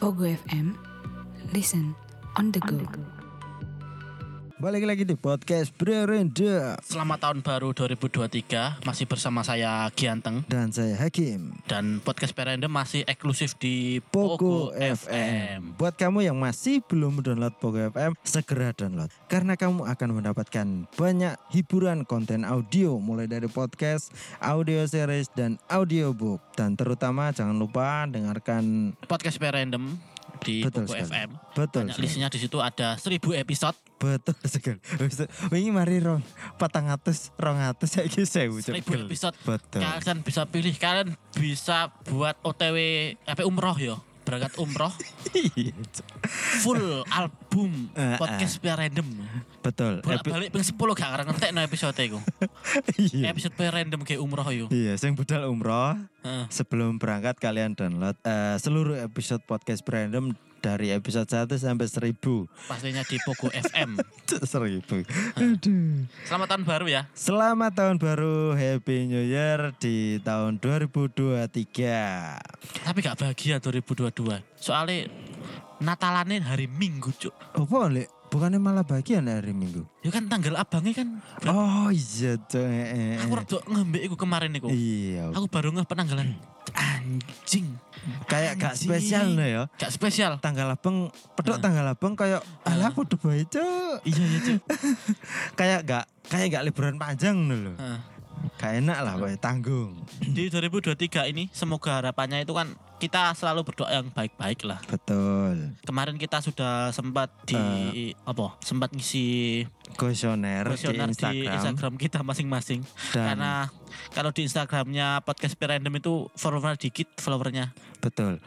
Pogo FM. Listen on the go. Balik lagi di podcast Bre Renda Selamat tahun baru 2023 masih bersama saya Gianteng dan saya Hakim. dan podcast Perende masih eksklusif di Pogo FM. Buat kamu yang masih belum download Pogo FM, segera download. Karena kamu akan mendapatkan banyak hiburan konten audio mulai dari podcast, audio series dan audiobook. Dan terutama jangan lupa dengarkan Podcast Perendem di Betul Pogo sekali. FM. Betul Banyak sekali. listnya di situ ada 1000 episode, betul sekali. Wis- Wingi mari rong 400 200 saiki 1000 1000 episode. Betul. Kalian bisa pilih, kalian bisa buat OTW apa umroh yo, berangkat umroh Iya, Cuk. full album Eh, eh. podcast Perendem. betul. Bolak Epi- balik ping 10 gak karang ngetek no episode iku. Iya. Episode Perendem kayak umroh yo. Ah, Iya, sing budal umroh Heeh. sebelum berangkat kalian download eh, seluruh episode podcast random dari episode 1 sampai 1000. Pastinya di Pogo FM. 1000. Selamat tahun baru ya. Selamat tahun baru, Happy New Year di tahun 2023. Tapi gak bahagia 2022. Soalnya Natalannya hari Minggu, Cuk. Apa Le? Bukannya malah bagian hari Minggu. Ya kan tanggal abangnya kan. Oh iya, Cok. Eh, eh, Aku eh. rada ngambek iku kemarin iku. Iya. Aku baru ngeh penanggalan. Anjing. Kayak gak Anjing. spesial no ya. Gak spesial. Tanggal abang, pedok Nah. tanggal abang kayak alah podo bae, Cok. Iya iya, Cuk. Kayak gak kayak gak liburan panjang no lho. Heeh. Gak enak lah, Pak. Tanggung. Di 2023 ini semoga harapannya itu kan kita selalu berdoa yang baik-baik lah. Betul. Kemarin kita sudah sempat di Eh. apa? Sempat ngisi Kuesioner di kuesioner Instagram. di Instagram kita masing-masing. Dan- Karena kalau di Instagramnya podcast Pirandom itu follower dikit followernya. Betul.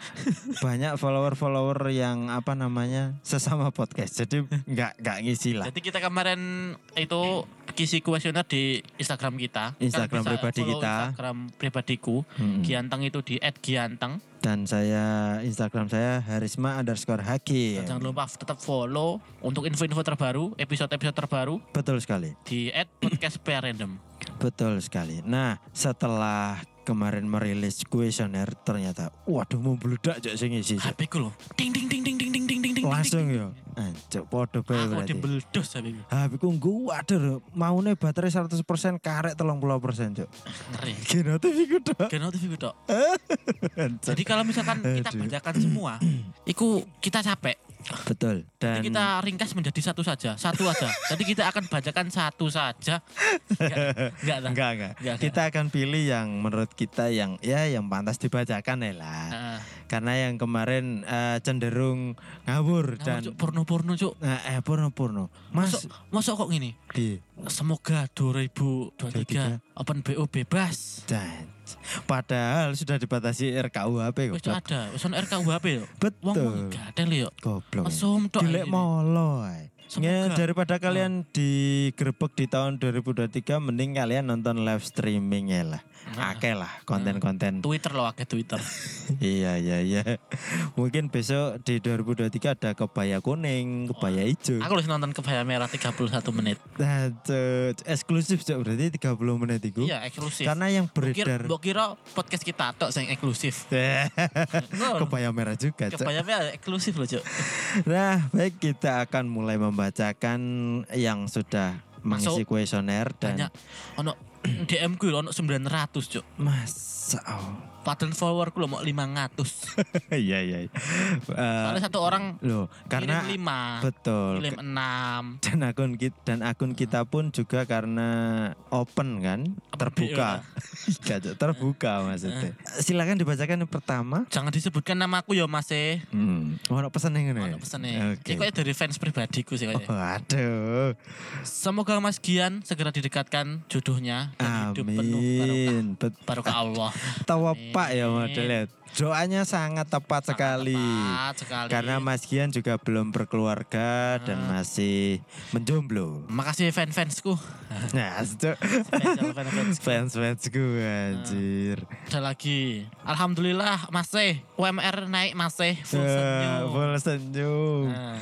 Banyak follower-follower yang apa namanya sesama podcast. Jadi nggak nggak ngisi lah. Jadi kita kemarin itu kisi kuesioner di Instagram kita. Instagram Kalian bisa pribadi follow kita. Hmm. Instagram pribadiku. Mm-mm. Gianteng itu di @gianteng. Dan saya Instagram saya Harisma underscore Hakim. Dan Jangan lupa tetap follow untuk info-info terbaru, episode-episode terbaru Betul sekali. di @podcastpirandom. Betul sekali. Nah setelah kemarin merilis kuesioner ternyata waduh membludak cok sing ngisi Cok. HP ku loh. Ding ding ding ding ding ding ding ding. ding, Iya. langsung yo anjuk podo bae ding. Aku berarti dibeldos HP ku. HP ku nggo waduh maune baterai 100% karek 30% cok Ngeri. Genotif iku tok. Gak notif iku, Dok. Jadi kalau misalkan kita Aduh. bacakan semua, itu kita capek. Betul. Dan Jadi kita ringkas menjadi satu saja, satu aja. Jadi kita akan bacakan satu saja. Enggak, enggak lah. enggak enggak. Enggak, Kita akan pilih yang menurut kita yang ya yang pantas dibacakan ya lah. Heeh. Karena yang kemarin eh, cenderung ngawur Nah, dan cuk, porno-porno cuk. Nah, eh porno-porno. Masuk, Mas masuk kok gini. di Semoga 2023 Open BO bebas. dan padahal sudah dibatasi RKUHP Wis cuk, goblok. ada, wis ono RKUHP yo. Betul. Wong wong gatel yo. Goblok. Mesum tok. iya, Dilek ini. molo. Semoga. Ya, daripada kalian digerebek di tahun 2023 mending kalian nonton live streaming ya lah. Nah. Akeh lah konten-konten Twitter loh akeh Twitter. Iya iya iya. Mungkin besok di 2023 ada kebaya kuning, Oh. kebaya hijau. Aku harus nonton kebaya merah 31 menit. Nah, Cuk. eksklusif Cuk. berarti 30 menit itu. Iya, eksklusif. Karena yang Mbok kira, beredar mbok kira podcast kita tok sing eksklusif. Ngono. kebaya merah juga. Cuk. Kebaya merah eksklusif loh, Cuk. Nah, baik kita akan mulai membacakan yang sudah mengisi Masuk. kuesioner dan banyak ono DM ku lho, ono 900 cuk masa oh. padahal follower ku lho mau 500 Iya iya. iya. Eh, soalnya satu orang loh, karena kirim 5 betul kirim 6 dan akun kita dan akun kita pun juga karena open kan terbuka Iya, Cok, terbuka maksudnya Eh. silakan dibacakan yang pertama jangan disebutkan nama aku ya mas eh hmm. oh ada pesan yang ini ono pesennya oke Oh, Ini ya? kayaknya dari fans pribadiku sih kayaknya Waduh, semoga mas Gian segera didekatkan jodohnya dan hidup penuh barokah amin. barokah Allah Tawa pak ya Amin. modelnya. Doanya sangat tepat sekali. Tepat sekali Ah. Karena Mas Gian juga belum berkeluarga dan masih menjomblo. makasih fans-fansku Nah, Cok. Spesial fans-fans. fans-fans gue Nah, anjir. ada lagi alhamdulillah mas eh UMR naik mas eh full Eh, senyum Full senyum. Nah,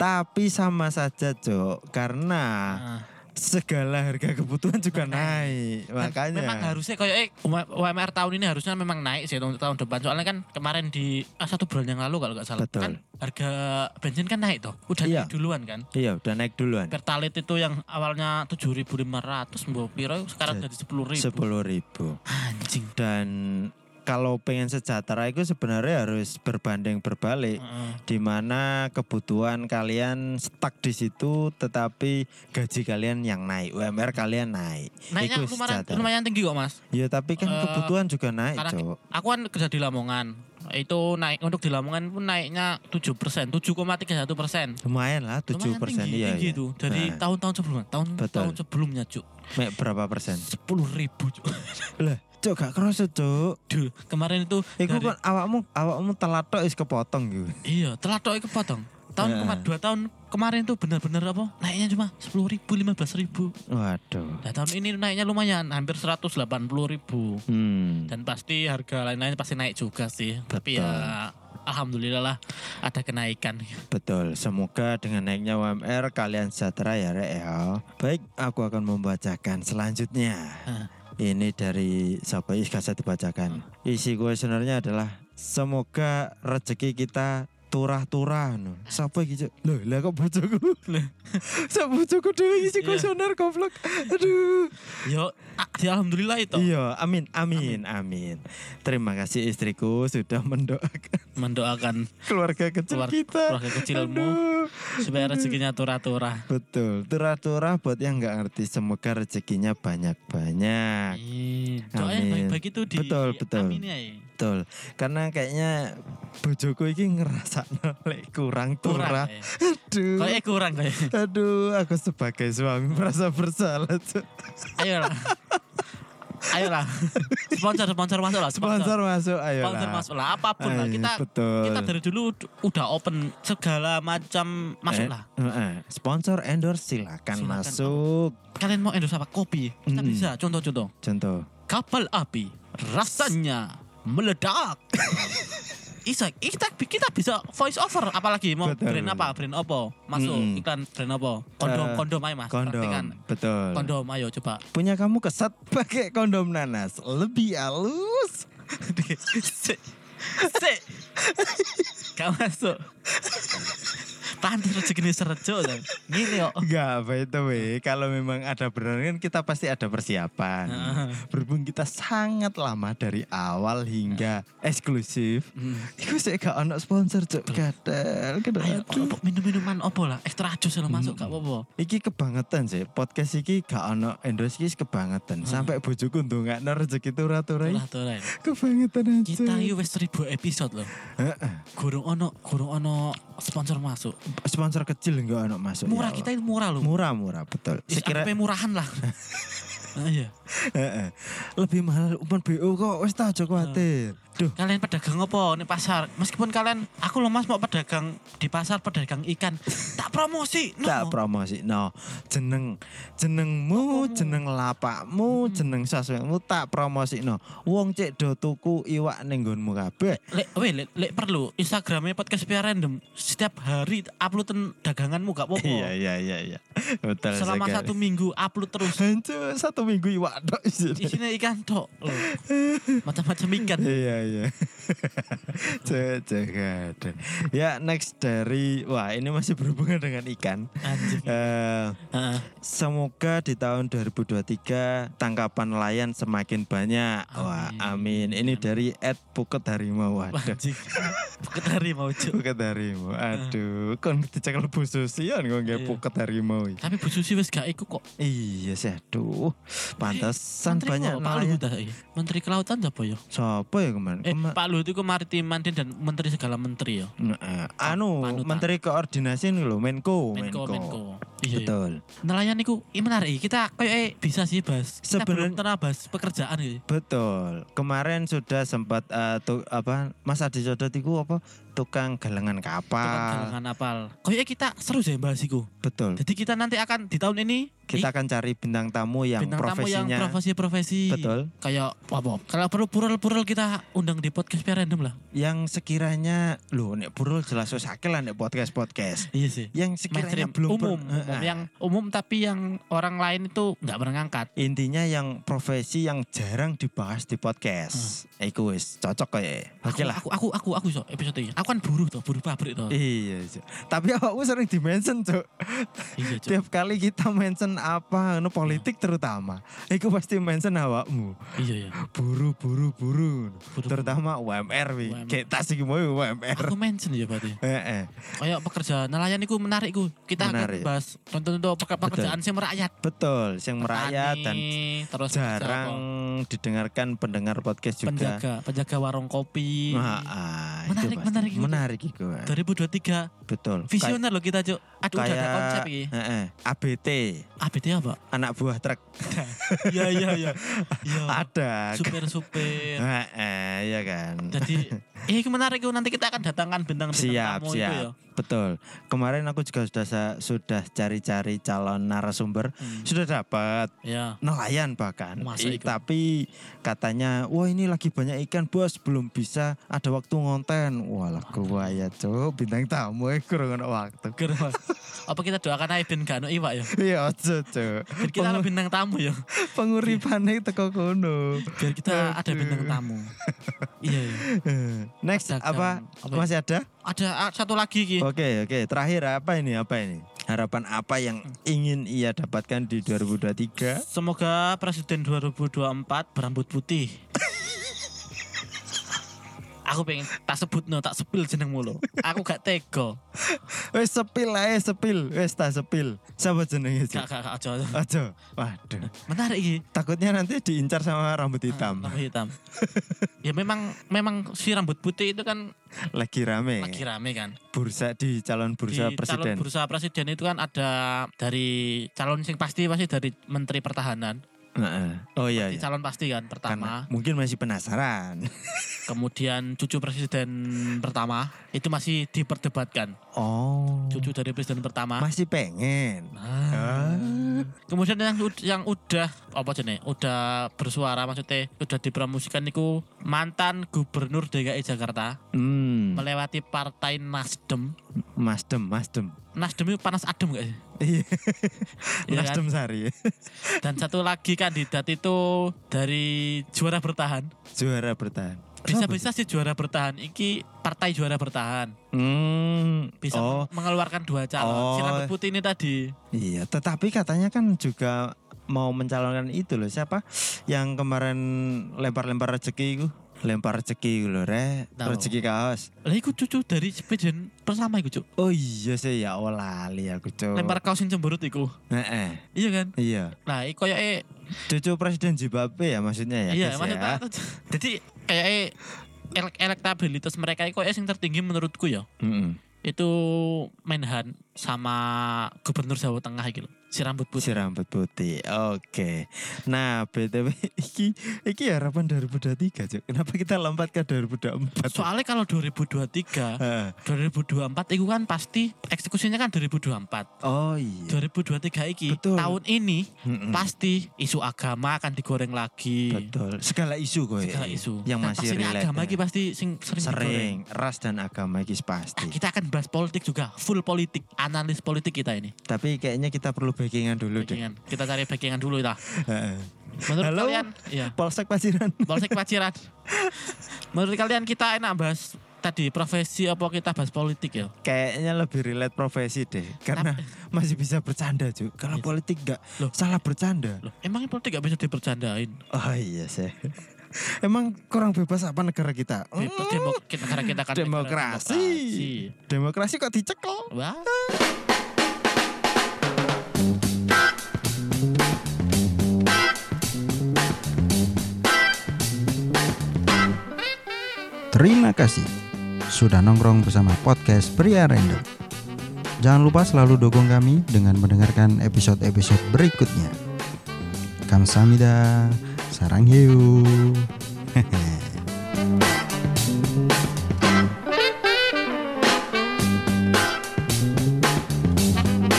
Tapi sama saja, Cok. Karena nah. segala harga kebutuhan juga naik. Dan Makanya. memang harusnya kayak eh, UM- UMR tahun ini harusnya memang naik sih untuk tahun depan soalnya kan kemarin di ah, satu bulan yang lalu kalau nggak salah Betul. kan harga bensin kan naik toh udah Iya. naik duluan kan Iya, udah naik duluan. Pertalite itu yang awalnya 7.500 mbok piro sekarang jadi 10.000 Sepuluh ribu. anjing Dan kalau pengen sejahtera itu sebenarnya harus berbanding berbalik. Heeh. di mana kebutuhan kalian stuck di situ tetapi gaji kalian yang naik, UMR kalian naik. naiknya Iku lumayan, sejahtera. lumayan tinggi kok mas Ya tapi kan Eh, kebutuhan juga naik, karena- Cok. aku kan kerja di Lamongan itu naik untuk di Lamongan pun naiknya 7 persen 7,31 persen Lumayan lah 7% Lumayan persen tinggi, iya. tinggi iya. itu dari Nah, tahun-tahun sebelumnya Betul. tahun-tahun sebelumnya cuk mek berapa persen? sepuluh ribu cuk Lah, Cok gak kerasa, Cok. Duh, kemarin itu Iku dari- kan awakmu awakmu telat tok is kepotong gitu. iya telah tok kepotong tahun Heeh. kemarin dua tahun kemarin tuh benar-benar apa naiknya cuma sepuluh ribu lima belas ribu Waduh. nah, tahun ini naiknya lumayan hampir seratus delapan puluh ribu Hmm. dan pasti harga lain-lain pasti naik juga sih tapi Betul. ya alhamdulillah lah ada kenaikan Betul, semoga dengan naiknya UMR kalian sejahtera ya Rek ya. Baik, aku akan membacakan selanjutnya. Hah. Ini dari siapa Ih, gak usah dibacakan. Isi kuesionernya adalah semoga rezeki kita turah-turah no. Sapa iki, Cuk? Loh, lah kok bojoku? Lah. Sak bojoku dhewe isi Iya. kuesioner goblok. Aduh. yo ah, ya alhamdulillah itu Iya, amin, amin, amin. Terima kasih istriku sudah mendoakan mendoakan keluarga kecil Keluar- kita. keluarga kecilmu Aduh. supaya rezekinya turah-turah Betul, turah-turah buat yang nggak ngerti semoga rezekinya Hmm. banyak-banyak. Amin. Doa yang Amin. baik-baik itu di Betul, betul. Amin ya. Betul, karena kayaknya bojoku ini ngerasa lek kurang Kurang. turah. ya. Aduh, Kayaknya kurang ya? kayak. aduh, aku sebagai suami merasa bersalah. Cuk. Ayolah. Ayolah. Sponsor sponsor masuk lah. Sponsor. Sponsor masuk, ayo Sponsor lah. masuk lah apapun lah Ayo, kita betul. kita dari dulu d- udah open segala macam masuk Eh, lah. eh, Sponsor endorse silakan, Silakan. masuk. Kalian mau endorse apa? Kopi. Kita Mm-mm. bisa contoh-contoh. Contoh. Kapal api rasanya meledak. Isak, kita, kita bisa voice over apalagi mau Betul. brand apa, brand apa, masuk Mm-mm. iklan brand apa, kondom, Eh, kondom ayo mas, praktikan. Kondom. Betul. Kondom, ayo coba. Punya kamu kesat pakai kondom nanas. Lebih halus. Sik. Sik. Gak masuk. Pantes rezeki ini serejo. Sam. Gini kok. Enggak, by the way, kalau memang ada benar kan kita pasti ada persiapan. Heeh. Berhubung kita sangat lama dari awal hingga eksklusif. Hmm. Iku saya gak ono sponsor cuk gatel. Ayo, Kedel. opo, minum-minuman opo lah. Ekstra jus lah masuk, gak apa-apa. Iki kebangetan sih. Podcast iki gak ono endorse iki kebangetan. Sampai bojoku ndongakno rezeki turah-turah. Itulah, itulah. Kebangetan aja. Kita ini wis 1000 episode loh. Heeh. Gurung ono, gurung ono sponsor masuk. Oh, Sponsor kecil enggak ono masuk. ya Murah Allah. kita ini murah loh. murah-murah betul. Is, Sekira apa murahan lah. Iya. Heeh. lebih mahal umpan BO kok wis tak aja kuatir. Duh, Kalian pedagang apa nih pasar? Meskipun kalian, aku loh mas mau pedagang di pasar pedagang ikan, tak promosi. no. tak promosi no jeneng jenengmu jeneng lapakmu jeneng sosmedmu tak promosi no wong cek do tuku iwak ning nggonmu kabeh Lek, weh, lek, lek perlu Instagramnya podcast biar random setiap hari uploaden daganganmu gak apa-apa. iya iya iya betul Selama satu minggu upload terus. Hancur, satu minggu iwak tok isine. Isinya ikan tok. loh. Macam-macam ikan. Iya iya. Cek cek ada. Ya next dari wah ini masih berhubungan dengan ikan. Anjing. Eh, Heeh. Semoga di tahun 2023 tangkapan nelayan semakin banyak. Wah, amin. Ini dari Ed Puket Harimau. Wah, Waduh. anjing. Buket hari mau cuk. Puket Harimau. Aduh, kon dicekel Bu Susian kok nggak Iya. Puket Harimau. iki. Tapi Bu Susi wis gak iku kok. Iya sih, aduh. Pantesan Menteri banyak kok, Pak nelayan. Luhut ah, iya. Menteri Kelautan apa ya? Siapa ya kemarin? Eh, Kema- Pak Luhut itu kemaritiman dan menteri segala menteri ya. Heeh. anu, Panutan. Menteri Koordinasi ini loh, Menko, Menko, Menko. Iya, iya. Betul. Nelayan niku, iya menarik. Kita kayak eh, bisa sih bahas. Kita Sebenarnya- belum pernah bahas pekerjaan gitu. Betul. Kemarin sudah sempat eh, tu- apa Mas Adi Sodot itu apa tukang galengan kapal. Galangan apal. Kayaknya kita seru sih bahas iku. Betul. Jadi kita nanti akan di tahun ini Hmm. Kita akan cari bintang tamu yang bintang tamu yang profesinya profesi-profesi. betul, Kayak apa? Kalau perlu purul-purul kita undang di podcast biar random lah. yang sekiranya lu nek burul jelas wis akeh lah nek podcast podcast. Iya sih. Yang sekiranya Mainstream belum per- umum, umum Heeh. yang umum tapi yang orang lain itu nggak pernah ngangkat. intinya yang profesi yang jarang dibahas di podcast. Hmm. Iku wis cocok kayak. Oke Aku- lah. Aku aku aku aku so episode ini. Aku kan buruh tuh, buruh pabrik tuh. Iya, Cuk. tapi awakmu sering dimention, Cuk. Iya, Cuk. Tiap kali kita mention apa, ngono politik terutama, iku pasti mention awakmu. Iya, iya. Buru, buru, buru. Buru-buru. Terutama UMR, wi. UMR. Kayak tas iki mau UMR. Aku mention ya berarti. Heeh, Kayak pekerjaan nelayan itu menarik ku. Kita Menarik. akan bahas contoh-contoh peker- pekerjaan sing merakyat. betul, yang merayat dan Petani, terus jarang pekerja didengarkan pendengar podcast apa? juga. penjaga, penjaga warung kopi. Nah, ah, itu Menarik, pasti. menarik iku, Cuk. menarik iku. ah. 2023 Betul. Kayak- visioner loh kita cuk aduh udah ada kayak- konsep ini heeh, ABT, ABT apa anak buah truk. iya iya iya iya Ada. super super Heeh, iya kan. jadi eh itu menarik itu nanti kita akan datangkan bintang siap tamu siap itu ya betul kemarin aku juga sudah sa- sudah cari-cari calon narasumber Hmm, sudah dapat ya nelayan bahkan Masa Eh, iku? tapi katanya wah ini lagi banyak ikan bos belum bisa ada waktu ngonten walah gua ya cuk bintang tamu eh, kurang ada waktu Gerwa. apa kita doakan aja ben gak ono iwak ya iya ojo cuk biar kita ada bintang tamu ya penguripannya teko kono biar kita ada Aduh. bintang tamu iya iya Eh, next Pedagang, apa apa ya? masih ada ada ah, satu lagi Ki. oke oke terakhir apa ini apa ini harapan apa yang Hmm. ingin ia dapatkan di 2023 Semoga Presiden 2024 berambut putih. Aku pengen tak sebut no, tak sepil jeneng mulu. Aku gak tega. Wes sepil ae sepil, wes tak sepil. Siapa jenenge sih? Gak, gak, gak, aja, aja. Aja. Waduh. Menarik iki. Takutnya nanti diincar sama rambut hitam. Ah, Rambut hitam. ya memang memang si rambut putih itu kan Lagi rame. lagi rame kan. Bursa di calon Iya. bursa Di presiden. calon bursa presiden itu kan ada dari calon sing pasti pasti dari Menteri Pertahanan. Heeh. Oh iya Di iya. calon pasti kan pertama. Karena mungkin masih penasaran. Kemudian cucu presiden pertama itu masih diperdebatkan. Oh. Cucu dari presiden pertama. Masih pengen. Ah. Kemudian yang ud- yang udah apa jenenge? Udah bersuara maksudnya udah dipromosikan niku mantan gubernur DKI Jakarta Hmm. melewati partai Nasdem. Masdem, Masdem. Nasdem itu panas adem gak sih? Iya. Iya kan? Nasdem Sari. Dan satu lagi kandidat itu dari juara bertahan. Juara bertahan. Siapa? Bisa-bisa sih juara bertahan iki partai juara bertahan Hmm. bisa Oh, mengeluarkan dua calon. Si Oh. rambut putih ini tadi. Iya, tetapi katanya kan juga mau mencalonkan itu loh siapa yang kemarin lempar-lempar rezeki itu lempar rezeki itu loh re Tahu. rezeki kaos Lah iku cucu dari presiden pertama iku, Cuk. oh iya sih ya oh lali aku cok Lempar kaos yang cemberut iku. Eh, eh, Iya kan? iya Nah, iku koyoke cucu presiden Zimbabwe ya maksudnya ya Iya, guys, maksudnya ya. tuh- jadi kayak eh, elektabilitas mereka itu yang tertinggi menurutku ya. Mm-mm. Itu Menhan sama Gubernur Jawa Tengah gitu. Si rambut si putih. rambut putih oke nah btw iki iki harapan 2023 cok kenapa kita lompat ke 2024 Soalnya kalau 2023, Hah. 2024 itu kan pasti eksekusinya kan 2024. oh iya 2023 iki Betul. tahun ini Mm-mm. pasti isu agama akan digoreng lagi. Betul. Segala isu kok. Iya. Segala isu. Yang Dan masih pasti ini relate. ya. agama iki pasti sing sering, digoreng. Sering ras dan agama iki Ah, pasti. kita akan bahas politik juga, full politik, analis politik kita ini. Tapi kayaknya kita perlu backingan dulu deh. Backingan. Kita cari backingan dulu kita. Heeh. Menurut Halo? kalian, ya, Polsek Pasiran. Polsek Paciran. Menurut kalian kita enak bahas tadi profesi apa kita bahas politik ya? Kayaknya lebih relate profesi deh. Karena masih bisa bercanda juga. Kalau Iya. politik enggak Loh. salah bercanda. Loh, emangnya politik gak bisa dipercandain? Oh iya sih. Emang kurang bebas apa negara kita? Hmm, Bebas demo- kita- negara kita kan negara demokrasi. Demokrasi kok dicekel? demokrasi. Wah, Terima kasih sudah nongkrong bersama podcast Pria Random. Jangan lupa selalu dukung kami dengan mendengarkan episode-episode berikutnya. Kamsahamnida, sarang hiu.